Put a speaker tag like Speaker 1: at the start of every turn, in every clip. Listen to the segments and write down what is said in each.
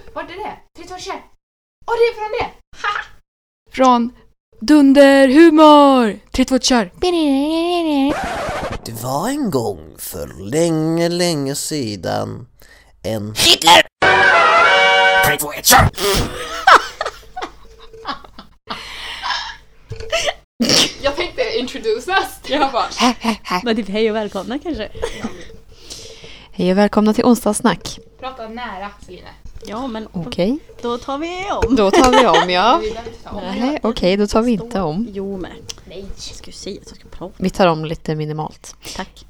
Speaker 1: vet du vad det är? Åh, det är från det! Haha!
Speaker 2: Från Dunderhumor! 3, 2, 1, kör!
Speaker 3: Det var en gång för länge, länge sedan en...
Speaker 4: Hitler! 3, 2, 1, kör!
Speaker 1: Jag tänkte introduce us. Jag bara,
Speaker 5: Men typ hej och välkomna kanske?
Speaker 2: Hej och välkomna till onsdagssnack.
Speaker 1: prata nära Celine.
Speaker 5: Ja men
Speaker 2: Okej,
Speaker 5: då tar vi om.
Speaker 2: då tar vi om
Speaker 1: Du
Speaker 2: ja.
Speaker 1: vill inte ta om.
Speaker 2: Nej, Okej, då tar vi inte om.
Speaker 5: Jo men,
Speaker 1: Nej.
Speaker 5: jag skulle säga att jag ska prata.
Speaker 2: Vi tar om lite minimalt.
Speaker 5: Tack.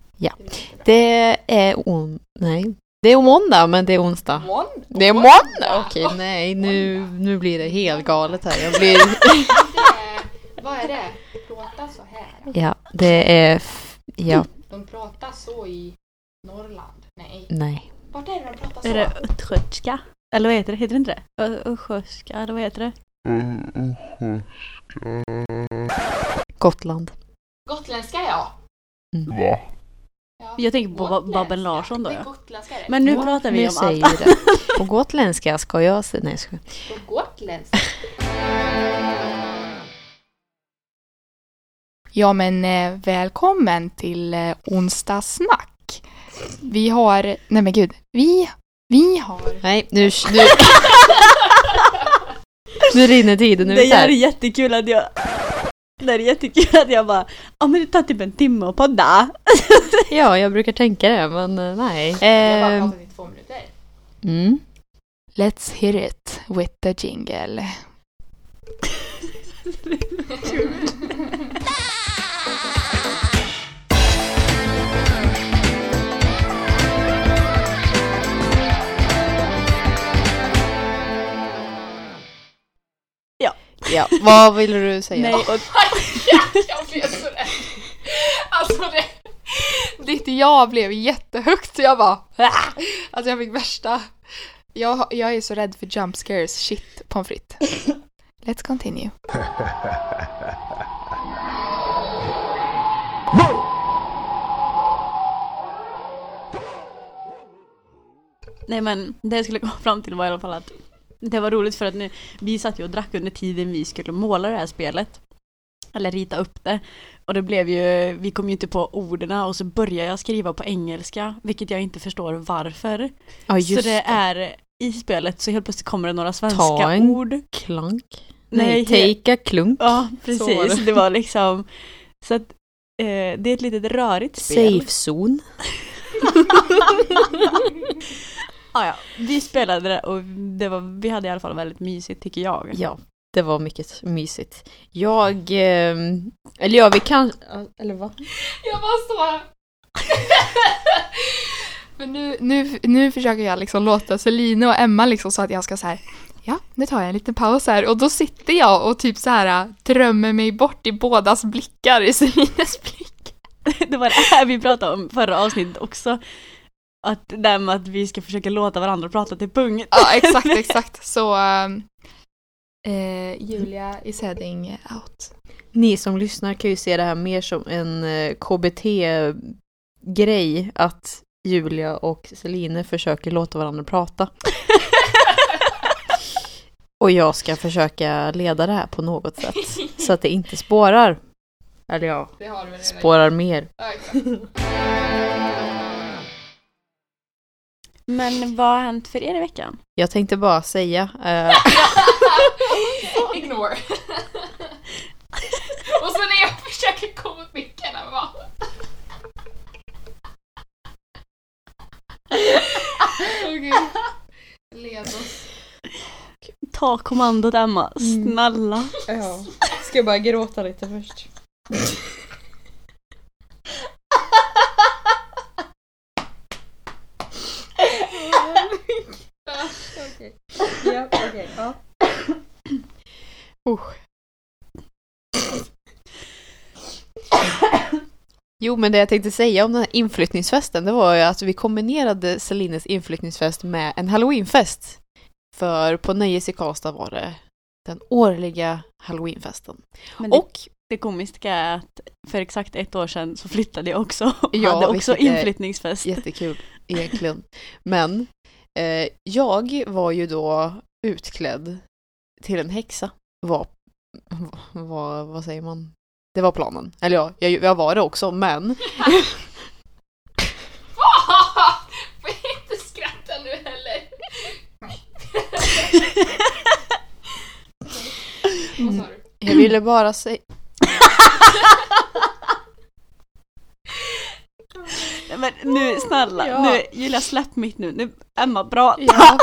Speaker 2: Det är on... Nej. Det är måndag, men det är onsdag.
Speaker 1: Mån?
Speaker 2: Det är måndag! Okej, nej nu, nu blir det helt galet här. Jag blir...
Speaker 1: Det- Vad är det? Prata så här.
Speaker 2: Ja, det är... f- Ja,
Speaker 1: De pratar så i Norrland. Nej.
Speaker 2: nej.
Speaker 1: Vart är det de pratar så?
Speaker 5: Är det östgötska? Eller vad heter det? Heter det inte det? Ö- Östgötska, eller vad heter det?
Speaker 2: Gotland.
Speaker 1: Gotländska ja.
Speaker 2: Mm.
Speaker 1: ja.
Speaker 5: Jag tänker på Ba-
Speaker 1: Gotländska.
Speaker 5: Babben Larsson då
Speaker 1: Det är
Speaker 5: ja.
Speaker 1: Gotländska är det.
Speaker 5: Men nu pratar vi
Speaker 2: Nu
Speaker 5: om allt.
Speaker 2: säger vi det. På gotländska ska jag... se- Nej, jag skojar.
Speaker 1: På gotländska. Ja men eh, välkommen till eh, onsdagssnack. Vi har, nej men gud, vi, vi har.
Speaker 2: Nej, nu... Nu, nu rinner tiden
Speaker 5: Det
Speaker 2: ut
Speaker 5: är
Speaker 2: här.
Speaker 5: jättekul att jag... Det är jättekul att jag bara, ja men det tar typ en timme att podda.
Speaker 2: Ja, jag brukar tänka det, men eh, nej.
Speaker 1: Vi har bara
Speaker 2: Eh,
Speaker 1: pratat i två minuter.
Speaker 2: mm.
Speaker 1: Let's hit it with the jingle.
Speaker 2: Ja, vad vill du säga?
Speaker 5: Nej, och
Speaker 1: jag blev så rädd. Alltså det... Ditt jag blev jättehögt så jag bara... "Ah!" Alltså jag fick värsta... Jag, jag är så rädd för jump scares. Shit, pommes frites. Let's continue.
Speaker 5: Nej men det jag skulle komma fram till var i alla fall att det var roligt för att nu, vi satt ju och drack under tiden vi skulle måla det här spelet. Eller rita upp det. Och det blev ju, vi kom ju inte på orden och så började jag skriva på engelska, vilket jag inte förstår varför.
Speaker 2: Ja,
Speaker 5: så det,
Speaker 2: just det.
Speaker 5: är i spelet så helt plötsligt kommer det några svenska
Speaker 2: Ta en-
Speaker 5: ord.
Speaker 2: Klank. Nej,
Speaker 5: Nej,
Speaker 2: take a klunk.
Speaker 5: Ja,
Speaker 2: Så var
Speaker 5: precis.
Speaker 2: det.
Speaker 5: Det var liksom, så att eh, det är ett lite rörigt spel.
Speaker 2: Safe zone.
Speaker 5: Ah, ja. Vi spelade det och det var, vi hade i alla fall väldigt mysigt tycker jag.
Speaker 2: Ja, det var mycket mysigt. Jag... ehm, Eller ja, vi kan... Eller vad?
Speaker 1: Jag bara så... Men nu, nu, nu försöker jag liksom låta Celine och Emma liksom så att jag ska så här... Ja, nu tar jag en liten paus här och då sitter jag och typ så här drömmer mig bort i bådas blickar i Celines blick.
Speaker 5: Det var det här vi pratade om förra avsnittet också. Att det här med att vi ska försöka låta varandra prata till punkt.
Speaker 1: Ja, exakt, exakt. Så ehm, eh, Julia is heading out.
Speaker 2: Ni som lyssnar kan ju se det här mer som en eh, KBT-grej att Julia och Celine försöker låta varandra prata. Och jag ska försöka leda det här på något sätt så att det inte spårar. Eller ja,
Speaker 1: Det har du väl
Speaker 2: spårar mer.
Speaker 5: Men vad har hänt för er i veckan?
Speaker 2: Jag tänkte bara säga eh,
Speaker 1: Ignore. och så när jag försöker komma åt micken här va. Okej. Led oss.
Speaker 5: Ta kommandot Emma, snälla.
Speaker 2: Ja. Ska jag bara gråta lite först? Ja, okej. Ja. Jo, men det jag tänkte säga om den här inflyttningsfesten, det var ju att vi kombinerade Celines inflyttningsfest med en halloweenfest. För på Nöjes i Karlstad var det den årliga halloweenfesten.
Speaker 5: Men det,
Speaker 2: Och
Speaker 5: det komiska är att för exakt ett år sedan så flyttade jag också och
Speaker 2: Ja,
Speaker 5: hade också
Speaker 2: vilket är-
Speaker 5: inflyttningsfest.
Speaker 2: Jättekul egentligen. Men eh, jag var ju då utklädd till en häxa. Var, var, vad säger man? Det var planen. Eller ja, jag, jag var det också, men
Speaker 1: Får inte skratta nu heller. Mm. Vad sa du?
Speaker 2: jag ville bara säga...
Speaker 5: Nej, men nu snälla,
Speaker 2: Ja.
Speaker 5: nu, Julia släpp mitt nu. nu Emma, bra.
Speaker 2: Ja.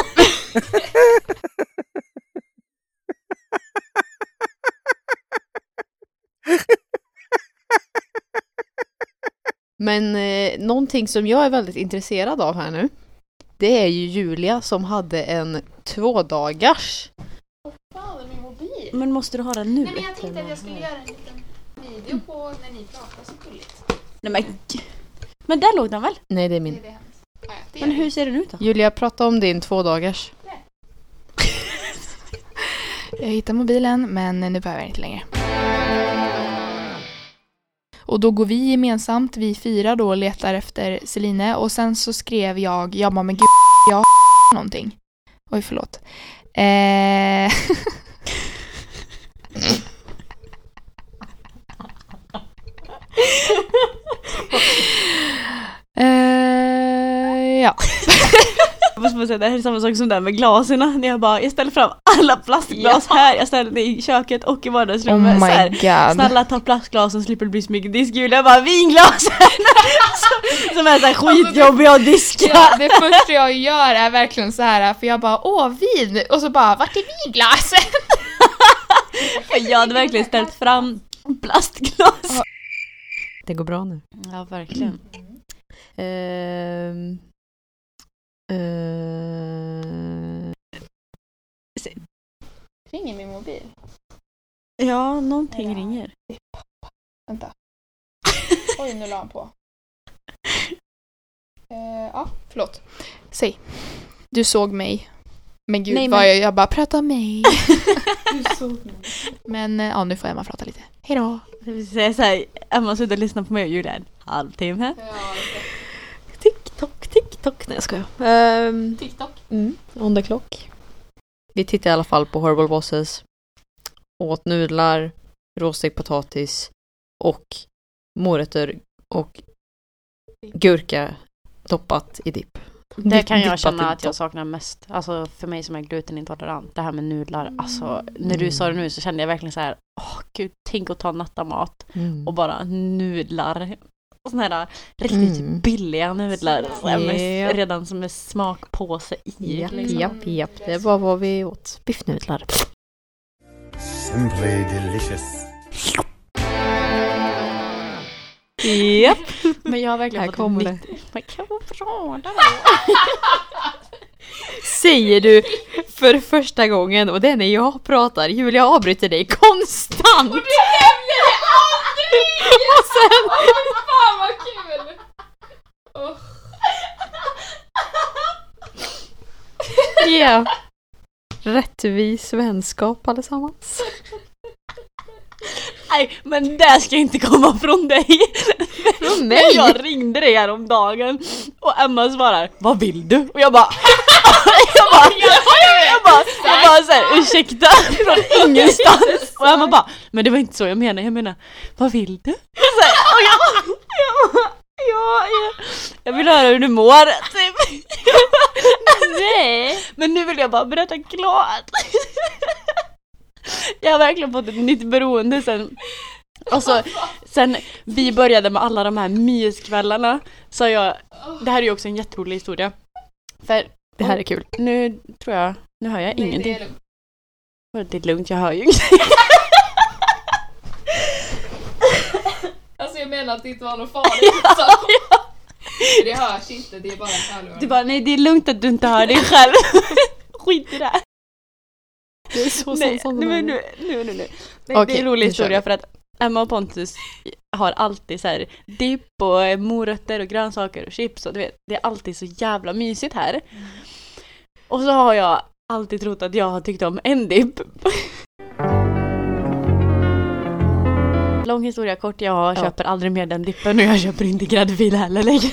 Speaker 2: Men eh, någonting som jag är väldigt intresserad av här nu det är ju Julia som hade en tvådagars
Speaker 1: Fan, det är min mobil.
Speaker 5: Men måste du ha den nu?
Speaker 1: Nej men jag tänkte att jag skulle göra en liten video på när ni pratar så gulligt.
Speaker 5: Nej, men, g- men där låg den väl?
Speaker 2: Nej, det
Speaker 1: Det
Speaker 2: är
Speaker 1: är
Speaker 2: min.
Speaker 1: det hemskt. Ja, ja, det är
Speaker 5: Men hur ser den ut då?
Speaker 2: Julia, prata om din tvådagars.
Speaker 1: Jag hittar mobilen men nu behöver jag inte längre. Och då går vi gemensamt, vi fyra då, och letar efter Celine och sen så skrev jag, jag bara men gud, jag har någonting. Oj förlåt. Eh... eh, ja.
Speaker 5: Jag måste bara säga, det här är samma sak som den med glasen. När jag bara, jag ställer fram alla plastglas här. Jag ställer det i köket och i
Speaker 1: Oh
Speaker 5: vardagsrummet. så
Speaker 1: my
Speaker 5: här.
Speaker 1: god.
Speaker 5: Snälla ta plastglasen slipper det bli så mycket disk. Julia bara, vinglasen! som, som är såhär skitjobbiga att diska.
Speaker 1: Ja, det första jag gör är verkligen så här för jag bara åh vin och så bara vart är vinglaset?
Speaker 5: Jag hade verkligen ställt fram plastglas.
Speaker 2: Det går bra nu.
Speaker 5: Ja, verkligen.
Speaker 2: Ehm. Ehm.
Speaker 1: Ringer min mobil.
Speaker 5: Ja, någonting ringer.
Speaker 1: Vänta. Oj nu la han på. Eh, ja, förlåt. Säg. Du såg mig. Men gud
Speaker 5: Nej,
Speaker 1: vad
Speaker 5: men-
Speaker 1: jag, jag bara prata om mig. Men eh, ja, nu får Emma prata lite. Hejdå.
Speaker 5: Det vill säga såhär, Emma har suttit och lyssnat på mig och Julia en halvtimme.
Speaker 2: TikTok, TikTok. Nej jag skojar. Um,
Speaker 1: TikTok.
Speaker 2: mm, on the clock. Vi tittar i alla fall på Horrible Bosses. Åt nudlar, råstekt potatis och morötter och gurka doppat i dipp.
Speaker 5: Det kan
Speaker 2: Dippat
Speaker 5: jag
Speaker 2: i
Speaker 5: känna att jag
Speaker 2: dopp.
Speaker 5: saknar mest. Alltså för mig som är glutenintolerant, det här med nudlar. Alltså när du sa det nu så kände jag verkligen så här, åh gud, tänk att ta nattamat
Speaker 2: Mm.
Speaker 5: och bara nudlar. Och Sådana här riktigt
Speaker 2: Mm.
Speaker 5: billiga nudlar. Så här med,
Speaker 2: Ja.
Speaker 5: redan som en smakpåse i.
Speaker 2: Japp,
Speaker 1: liksom.
Speaker 2: japp, japp. Det var vad vi åt. Biffnudlar.
Speaker 4: Simply delicious.
Speaker 2: Japp.
Speaker 5: Men jag har verkligen
Speaker 2: Här
Speaker 5: fått
Speaker 2: kommer
Speaker 5: nytt. Men kan vara bra där.
Speaker 2: Säger du för första gången och det är när jag pratar. Julia avbryter dig konstant! Och du nämner det aldrig! Och sen...
Speaker 1: Fan vad kul!
Speaker 2: Ja. Rättvis vänskap allesammans.
Speaker 5: Nej, men det ska inte komma från dig.
Speaker 2: Från
Speaker 5: Men jag ringde dig häromdagen och Emma svarar Vad vill du? Och jag bara Jag bara, jag bara, jag bara såhär ursäkta från ingenstans Och Emma bara Men det var inte så jag menade, jag menar Vad vill du? Så här, och jag bara, jag bara Ja, jag, jag vill höra hur du mår typ. Nej Men nu vill jag bara berätta klart Jag har verkligen fått ett nytt beroende sen Alltså sen vi började med alla de här myskvällarna så jag, det här är ju också en jätterolig historia. För
Speaker 2: Det här är kul.
Speaker 5: nu tror jag, nu hör jag ingenting.
Speaker 1: lugnt.
Speaker 5: Det är, lugnt, jag hör ju ingenting.
Speaker 1: Alltså jag menar att det inte var något farligt. så. Det hörs inte, det är bara hörlurar.
Speaker 5: Du bara, nej det är lugnt att du inte hör dig själv. Skit i det här.
Speaker 2: Det är så
Speaker 5: Nej, nej, men nu, nu, nu, nu. Det, det
Speaker 2: Okej,
Speaker 5: är en rolig
Speaker 2: nu kör
Speaker 5: historia
Speaker 2: vi.
Speaker 5: för att Emma och Pontus har alltid så här dipp och eh, morötter och grönsaker och chips och du vet, det är alltid så jävla mysigt här. Och så har jag alltid trott att jag har tyckt om en dipp. Lång historia kort, jag
Speaker 2: Ja.
Speaker 5: köper aldrig mer den dippen och jag köper inte gräddfil heller längre.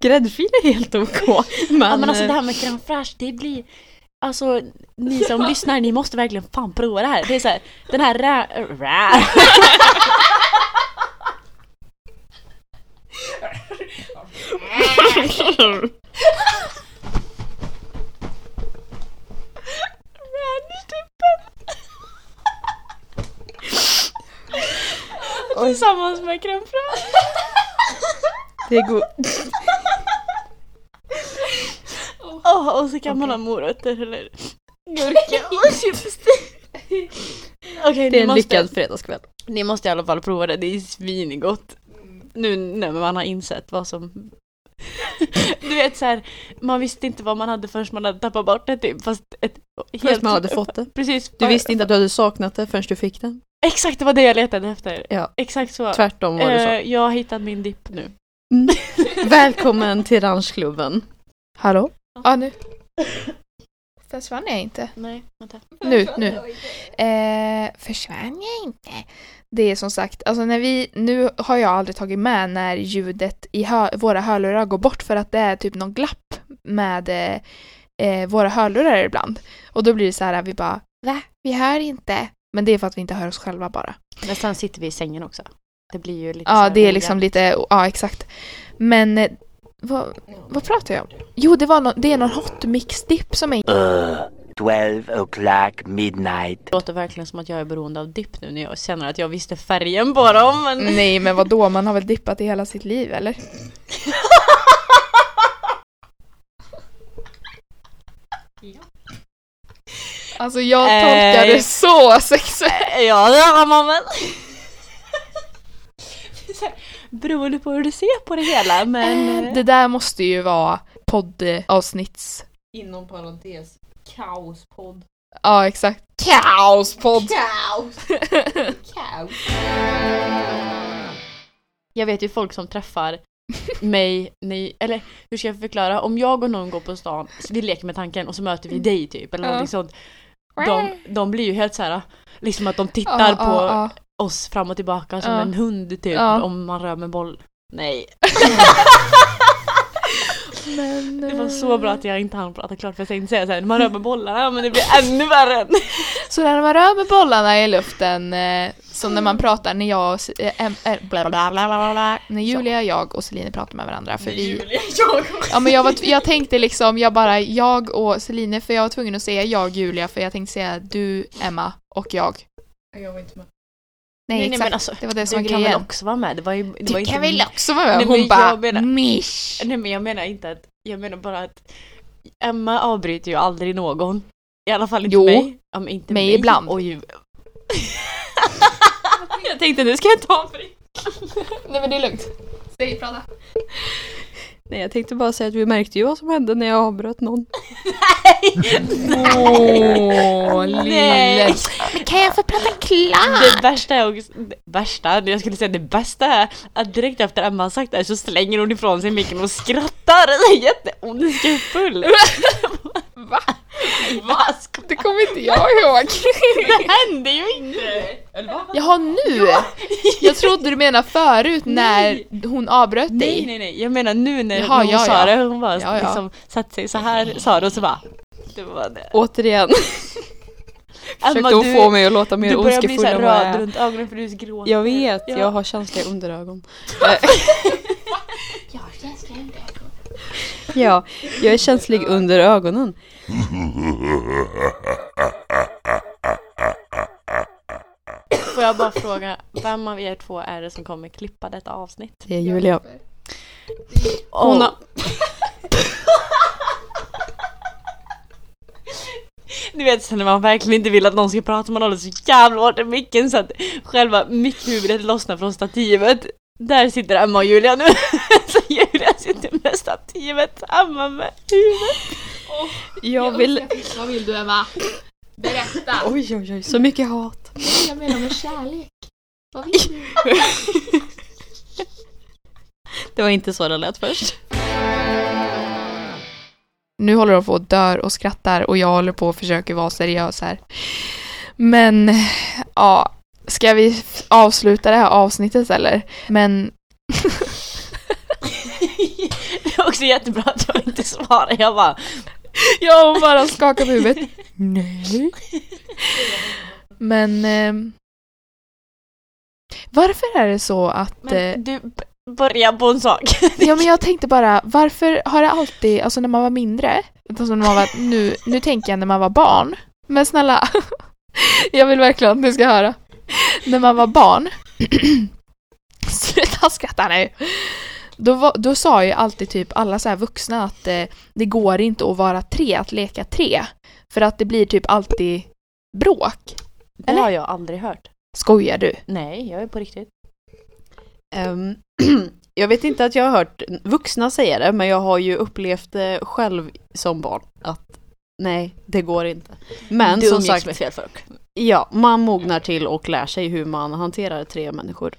Speaker 2: Gräddfil är helt ok. Men,
Speaker 5: Ja men alltså det här med crème fraîche, det blir... Alltså ni som lyssnar, ni måste verkligen fan prova det här. Det är så här, den här rä... rä Tillsammans med crème fraîche.
Speaker 2: det är go-
Speaker 5: Åh, oh, och så kan man ha morötter eller gurka och chips. Okej,
Speaker 2: det är
Speaker 5: ni,
Speaker 2: en
Speaker 5: måste-
Speaker 2: lyckad fredagskväll.
Speaker 5: ni måste i alla fall prova det, det är svingott.
Speaker 2: Mm.
Speaker 5: Nu när man har insett vad som... Du vet så här, man visste inte vad man hade förrän man hade tappat bort det typ. Fast ett
Speaker 2: Först man hade fått det.
Speaker 5: Precis.
Speaker 2: Du visste inte att du hade saknat det förrän du fick det.
Speaker 5: Exakt, det var det jag letade efter.
Speaker 2: Ja.
Speaker 5: Exakt så.
Speaker 2: Tvärtom var det så. Mm.
Speaker 5: Eh, jag har hittat min dipp nu.
Speaker 2: Välkommen till Ranchklubben. Hallå?
Speaker 1: Ja, nu. Försvann jag inte?
Speaker 5: Nej, vänta.
Speaker 1: Nu, nu. Eh, försvann jag inte? Det är som sagt, alltså när vi, nu har jag aldrig tagit med när ljudet i hö, våra hörlurar går bort för att det är typ någon glapp med eh, eh, våra hörlurar ibland. Och då blir det så här, vi bara va? Vi hör inte. Men det är för att vi inte hör oss själva bara.
Speaker 5: Men sen sitter vi i sängen också. Det blir ju lite så
Speaker 1: Ja,
Speaker 5: här
Speaker 1: det är
Speaker 5: olika.
Speaker 1: liksom lite, ja exakt. Men eh, vad, vad pratar jag om? Jo, det, var någon, det är någon hot mix-dipp som är...
Speaker 4: Uh, 12 o'clock midnight.
Speaker 5: Det låter verkligen som att jag är beroende av dipp nu när jag känner att jag visste färgen på dem. Men...
Speaker 1: Nej, men vad då? man har väl dippat i hela sitt liv eller? Alltså jag tolkar
Speaker 5: Eh.
Speaker 1: det så sexuellt.
Speaker 5: ja, det har man väl. Det är så här, Beroende på hur du ser på det hela, men...
Speaker 1: Eh,
Speaker 5: eh.
Speaker 1: Det där måste ju vara poddavsnitts...
Speaker 2: Inom parentes. Kaospodd.
Speaker 1: Ja, exakt. Kaospodd!
Speaker 5: Jag vet ju folk som träffar mig, nej, eller hur ska jag förklara? Om jag och någon går på stan, så vi leker med tanken och så möter vi dig typ eller
Speaker 1: Mm. Ja.
Speaker 5: någonting sånt. De, de blir ju helt så här, liksom att de
Speaker 1: Ja,
Speaker 5: tittar på
Speaker 1: ja,
Speaker 5: oss fram och tillbaka som
Speaker 1: Ja.
Speaker 5: en hund typ
Speaker 1: Ja.
Speaker 5: om man rör med boll. Nej,
Speaker 1: ja. Men,
Speaker 5: det var så bra att jag inte hann prata klart för jag tänkte säga såhär, när man rör med bollarna men det blir ännu värre. än-
Speaker 1: Så när man rör med bollarna i luften, eh, som när man pratar när jag och S- eh, em- eh, bla, bla, bla, bla, bla, bla, när Julia, jag och Celine pratar med varandra. För vi, ja, men jag, var, t- jag tänkte liksom, jag bara, jag och Celine, för jag var tvungen att säga jag Julia, för jag tänkte säga du, Emma och jag. Nej,
Speaker 5: Nej, nej,
Speaker 1: exakt.
Speaker 5: men alltså,
Speaker 1: det var det som var
Speaker 5: Du kan väl
Speaker 1: grejen.
Speaker 5: också vara med? Det var ju, det var
Speaker 1: Du
Speaker 5: inte
Speaker 1: kan väl också vara med?
Speaker 5: Nej,
Speaker 1: Hon
Speaker 5: men
Speaker 1: bara,
Speaker 5: jag menar-
Speaker 1: mish!
Speaker 5: Nej men jag menar inte att, jag menar bara att Emma avbryter ju aldrig någon. I alla fall inte
Speaker 1: Jo,
Speaker 5: mig. Ja, men inte
Speaker 1: mig
Speaker 5: mig
Speaker 1: ibland.
Speaker 5: Oj. jag tänkte nu ska jag ta avbryta.
Speaker 1: Nej men det är lugnt. Säg, prata.
Speaker 2: Nej, jag tänkte bara säga att vi märkte ju vad som hände när jag avbröt någon.
Speaker 1: Åh, lille.
Speaker 5: Nej.
Speaker 1: Men kan jag få prata klart?
Speaker 5: Det värsta är också, det värsta, jag skulle säga det bästa är att direkt efter Emma har sagt det här så slänger hon ifrån sig micken och skrattar. Det är jätte, hon är skrufull.
Speaker 1: Va?
Speaker 5: Vad ska-
Speaker 1: Det kommer inte jag ihåg.
Speaker 5: Det hände ju inte! Eller va?
Speaker 1: Jaha nu! Jag trodde du menade förut när hon avbröt
Speaker 5: Nej
Speaker 1: dig.
Speaker 5: nej nej, jag menar nu när
Speaker 1: Jaha,
Speaker 5: hon
Speaker 1: ja,
Speaker 5: sa
Speaker 1: ja.
Speaker 5: det, hon bara
Speaker 1: Ja, ja.
Speaker 5: liksom satte sig så här sa det och så bara Det var det.
Speaker 2: Återigen, försökte hon få mig att låta mer
Speaker 5: du börjar bli
Speaker 2: ondskefull
Speaker 5: så här
Speaker 2: än vad jag
Speaker 5: röd
Speaker 2: är.
Speaker 5: runt ögonen för du gråter.
Speaker 2: Jag vet,
Speaker 5: Ja.
Speaker 2: jag har känsliga underögon. Eh. ja, jag är känslig under ögonen.
Speaker 5: Får jag bara fråga, vem av er två är det som kommer klippa detta avsnitt?
Speaker 2: Det är Julia.
Speaker 5: Hon har... Ni vet sen när man verkligen inte vill att någon ska prata, man håller så jävla hårt i micken så att själva mickhuvudet lossnar från stativet. Där sitter Emma och Julia nu. så Julia sitter med stativet, Emma med huvudet.
Speaker 2: Jag vill...
Speaker 1: Vad vill du Emma? Berätta!
Speaker 2: Oj, oj, oj, så mycket hat.
Speaker 1: Jag menar med kärlek. Vad vill du?
Speaker 2: Det var inte så det lät först.
Speaker 1: Nu håller de på att dör och skrattar och jag håller på och försöker vara seriös här. Men, ja. Ska vi f- avsluta det här avsnittet eller? Men
Speaker 5: Det var också jättebra att jag inte svarade. Jag bara,
Speaker 1: Ja, hon bara skakar på huvudet. Nej. Men... ehm, varför är det så att... eh,
Speaker 5: men du b- börjar på en sak.
Speaker 1: Ja men jag tänkte bara, varför har det alltid, alltså när man var mindre, alltså när man var, nu, nu tänker jag när man var barn, men snälla, jag vill verkligen att ni ska höra. När man var barn, sluta skratta nu! Då, var, då sa ju alltid typ alla så här vuxna att eh, det går inte att vara tre, att leka tre. För att det blir typ alltid bråk.
Speaker 5: Det har jag aldrig hört.
Speaker 1: Skojar du?
Speaker 5: Nej, jag är på riktigt.
Speaker 2: Ehm, jag vet inte att jag har hört vuxna säga det, men jag har ju upplevt det själv som barn. Att nej, det går inte. Men
Speaker 5: du
Speaker 2: som
Speaker 5: umgicks
Speaker 2: sagt,
Speaker 5: med fel folk.
Speaker 2: ja, man mognar till och lär sig hur man hanterar tre människor.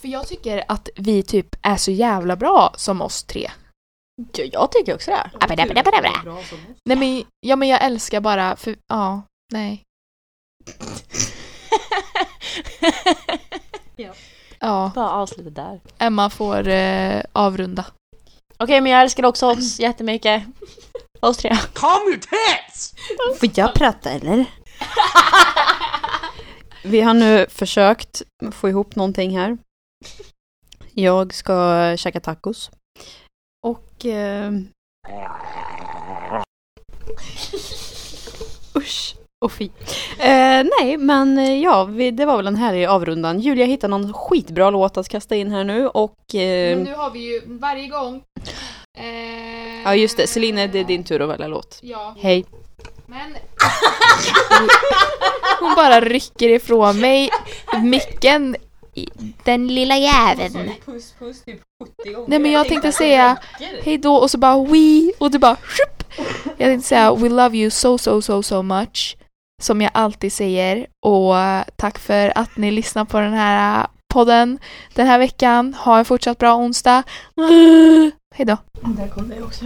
Speaker 1: För jag tycker att vi typ är så jävla bra som oss tre.
Speaker 5: Jag, jag tycker också det.
Speaker 1: Nej men, ja men jag älskar bara, för, ja, nej. Ja,
Speaker 5: Bara avsluta där.
Speaker 1: Emma får eh, avrunda.
Speaker 5: Okej, men jag älskar också oss jättemycket. Oss tre.
Speaker 2: Får jag prata eller? Vi har nu försökt få ihop någonting här. Jag ska käka tacos. Och... Eh, usch och fy. Eh, nej, men eh, ja, vi, det var väl den här i avrundan. Julia hittade någon skitbra låt att kasta in här nu och... Eh,
Speaker 1: nu har vi ju varje gång... eh,
Speaker 2: ja, just det. Celine, det är din tur att välja låt.
Speaker 1: Ja,
Speaker 2: Hej.
Speaker 1: men... Hon bara rycker ifrån mig micken. i- Den lilla jäveln. Nej men typ jag tänkte säga hej då och så bara we och du bara shup. Jag tänkte säga we love you so so so so much. Som jag alltid säger och eh, tack för att ni lyssnar på den här eh, podden den här veckan. Ha en fortsatt bra onsdag. Hej då.
Speaker 5: Där kom det också.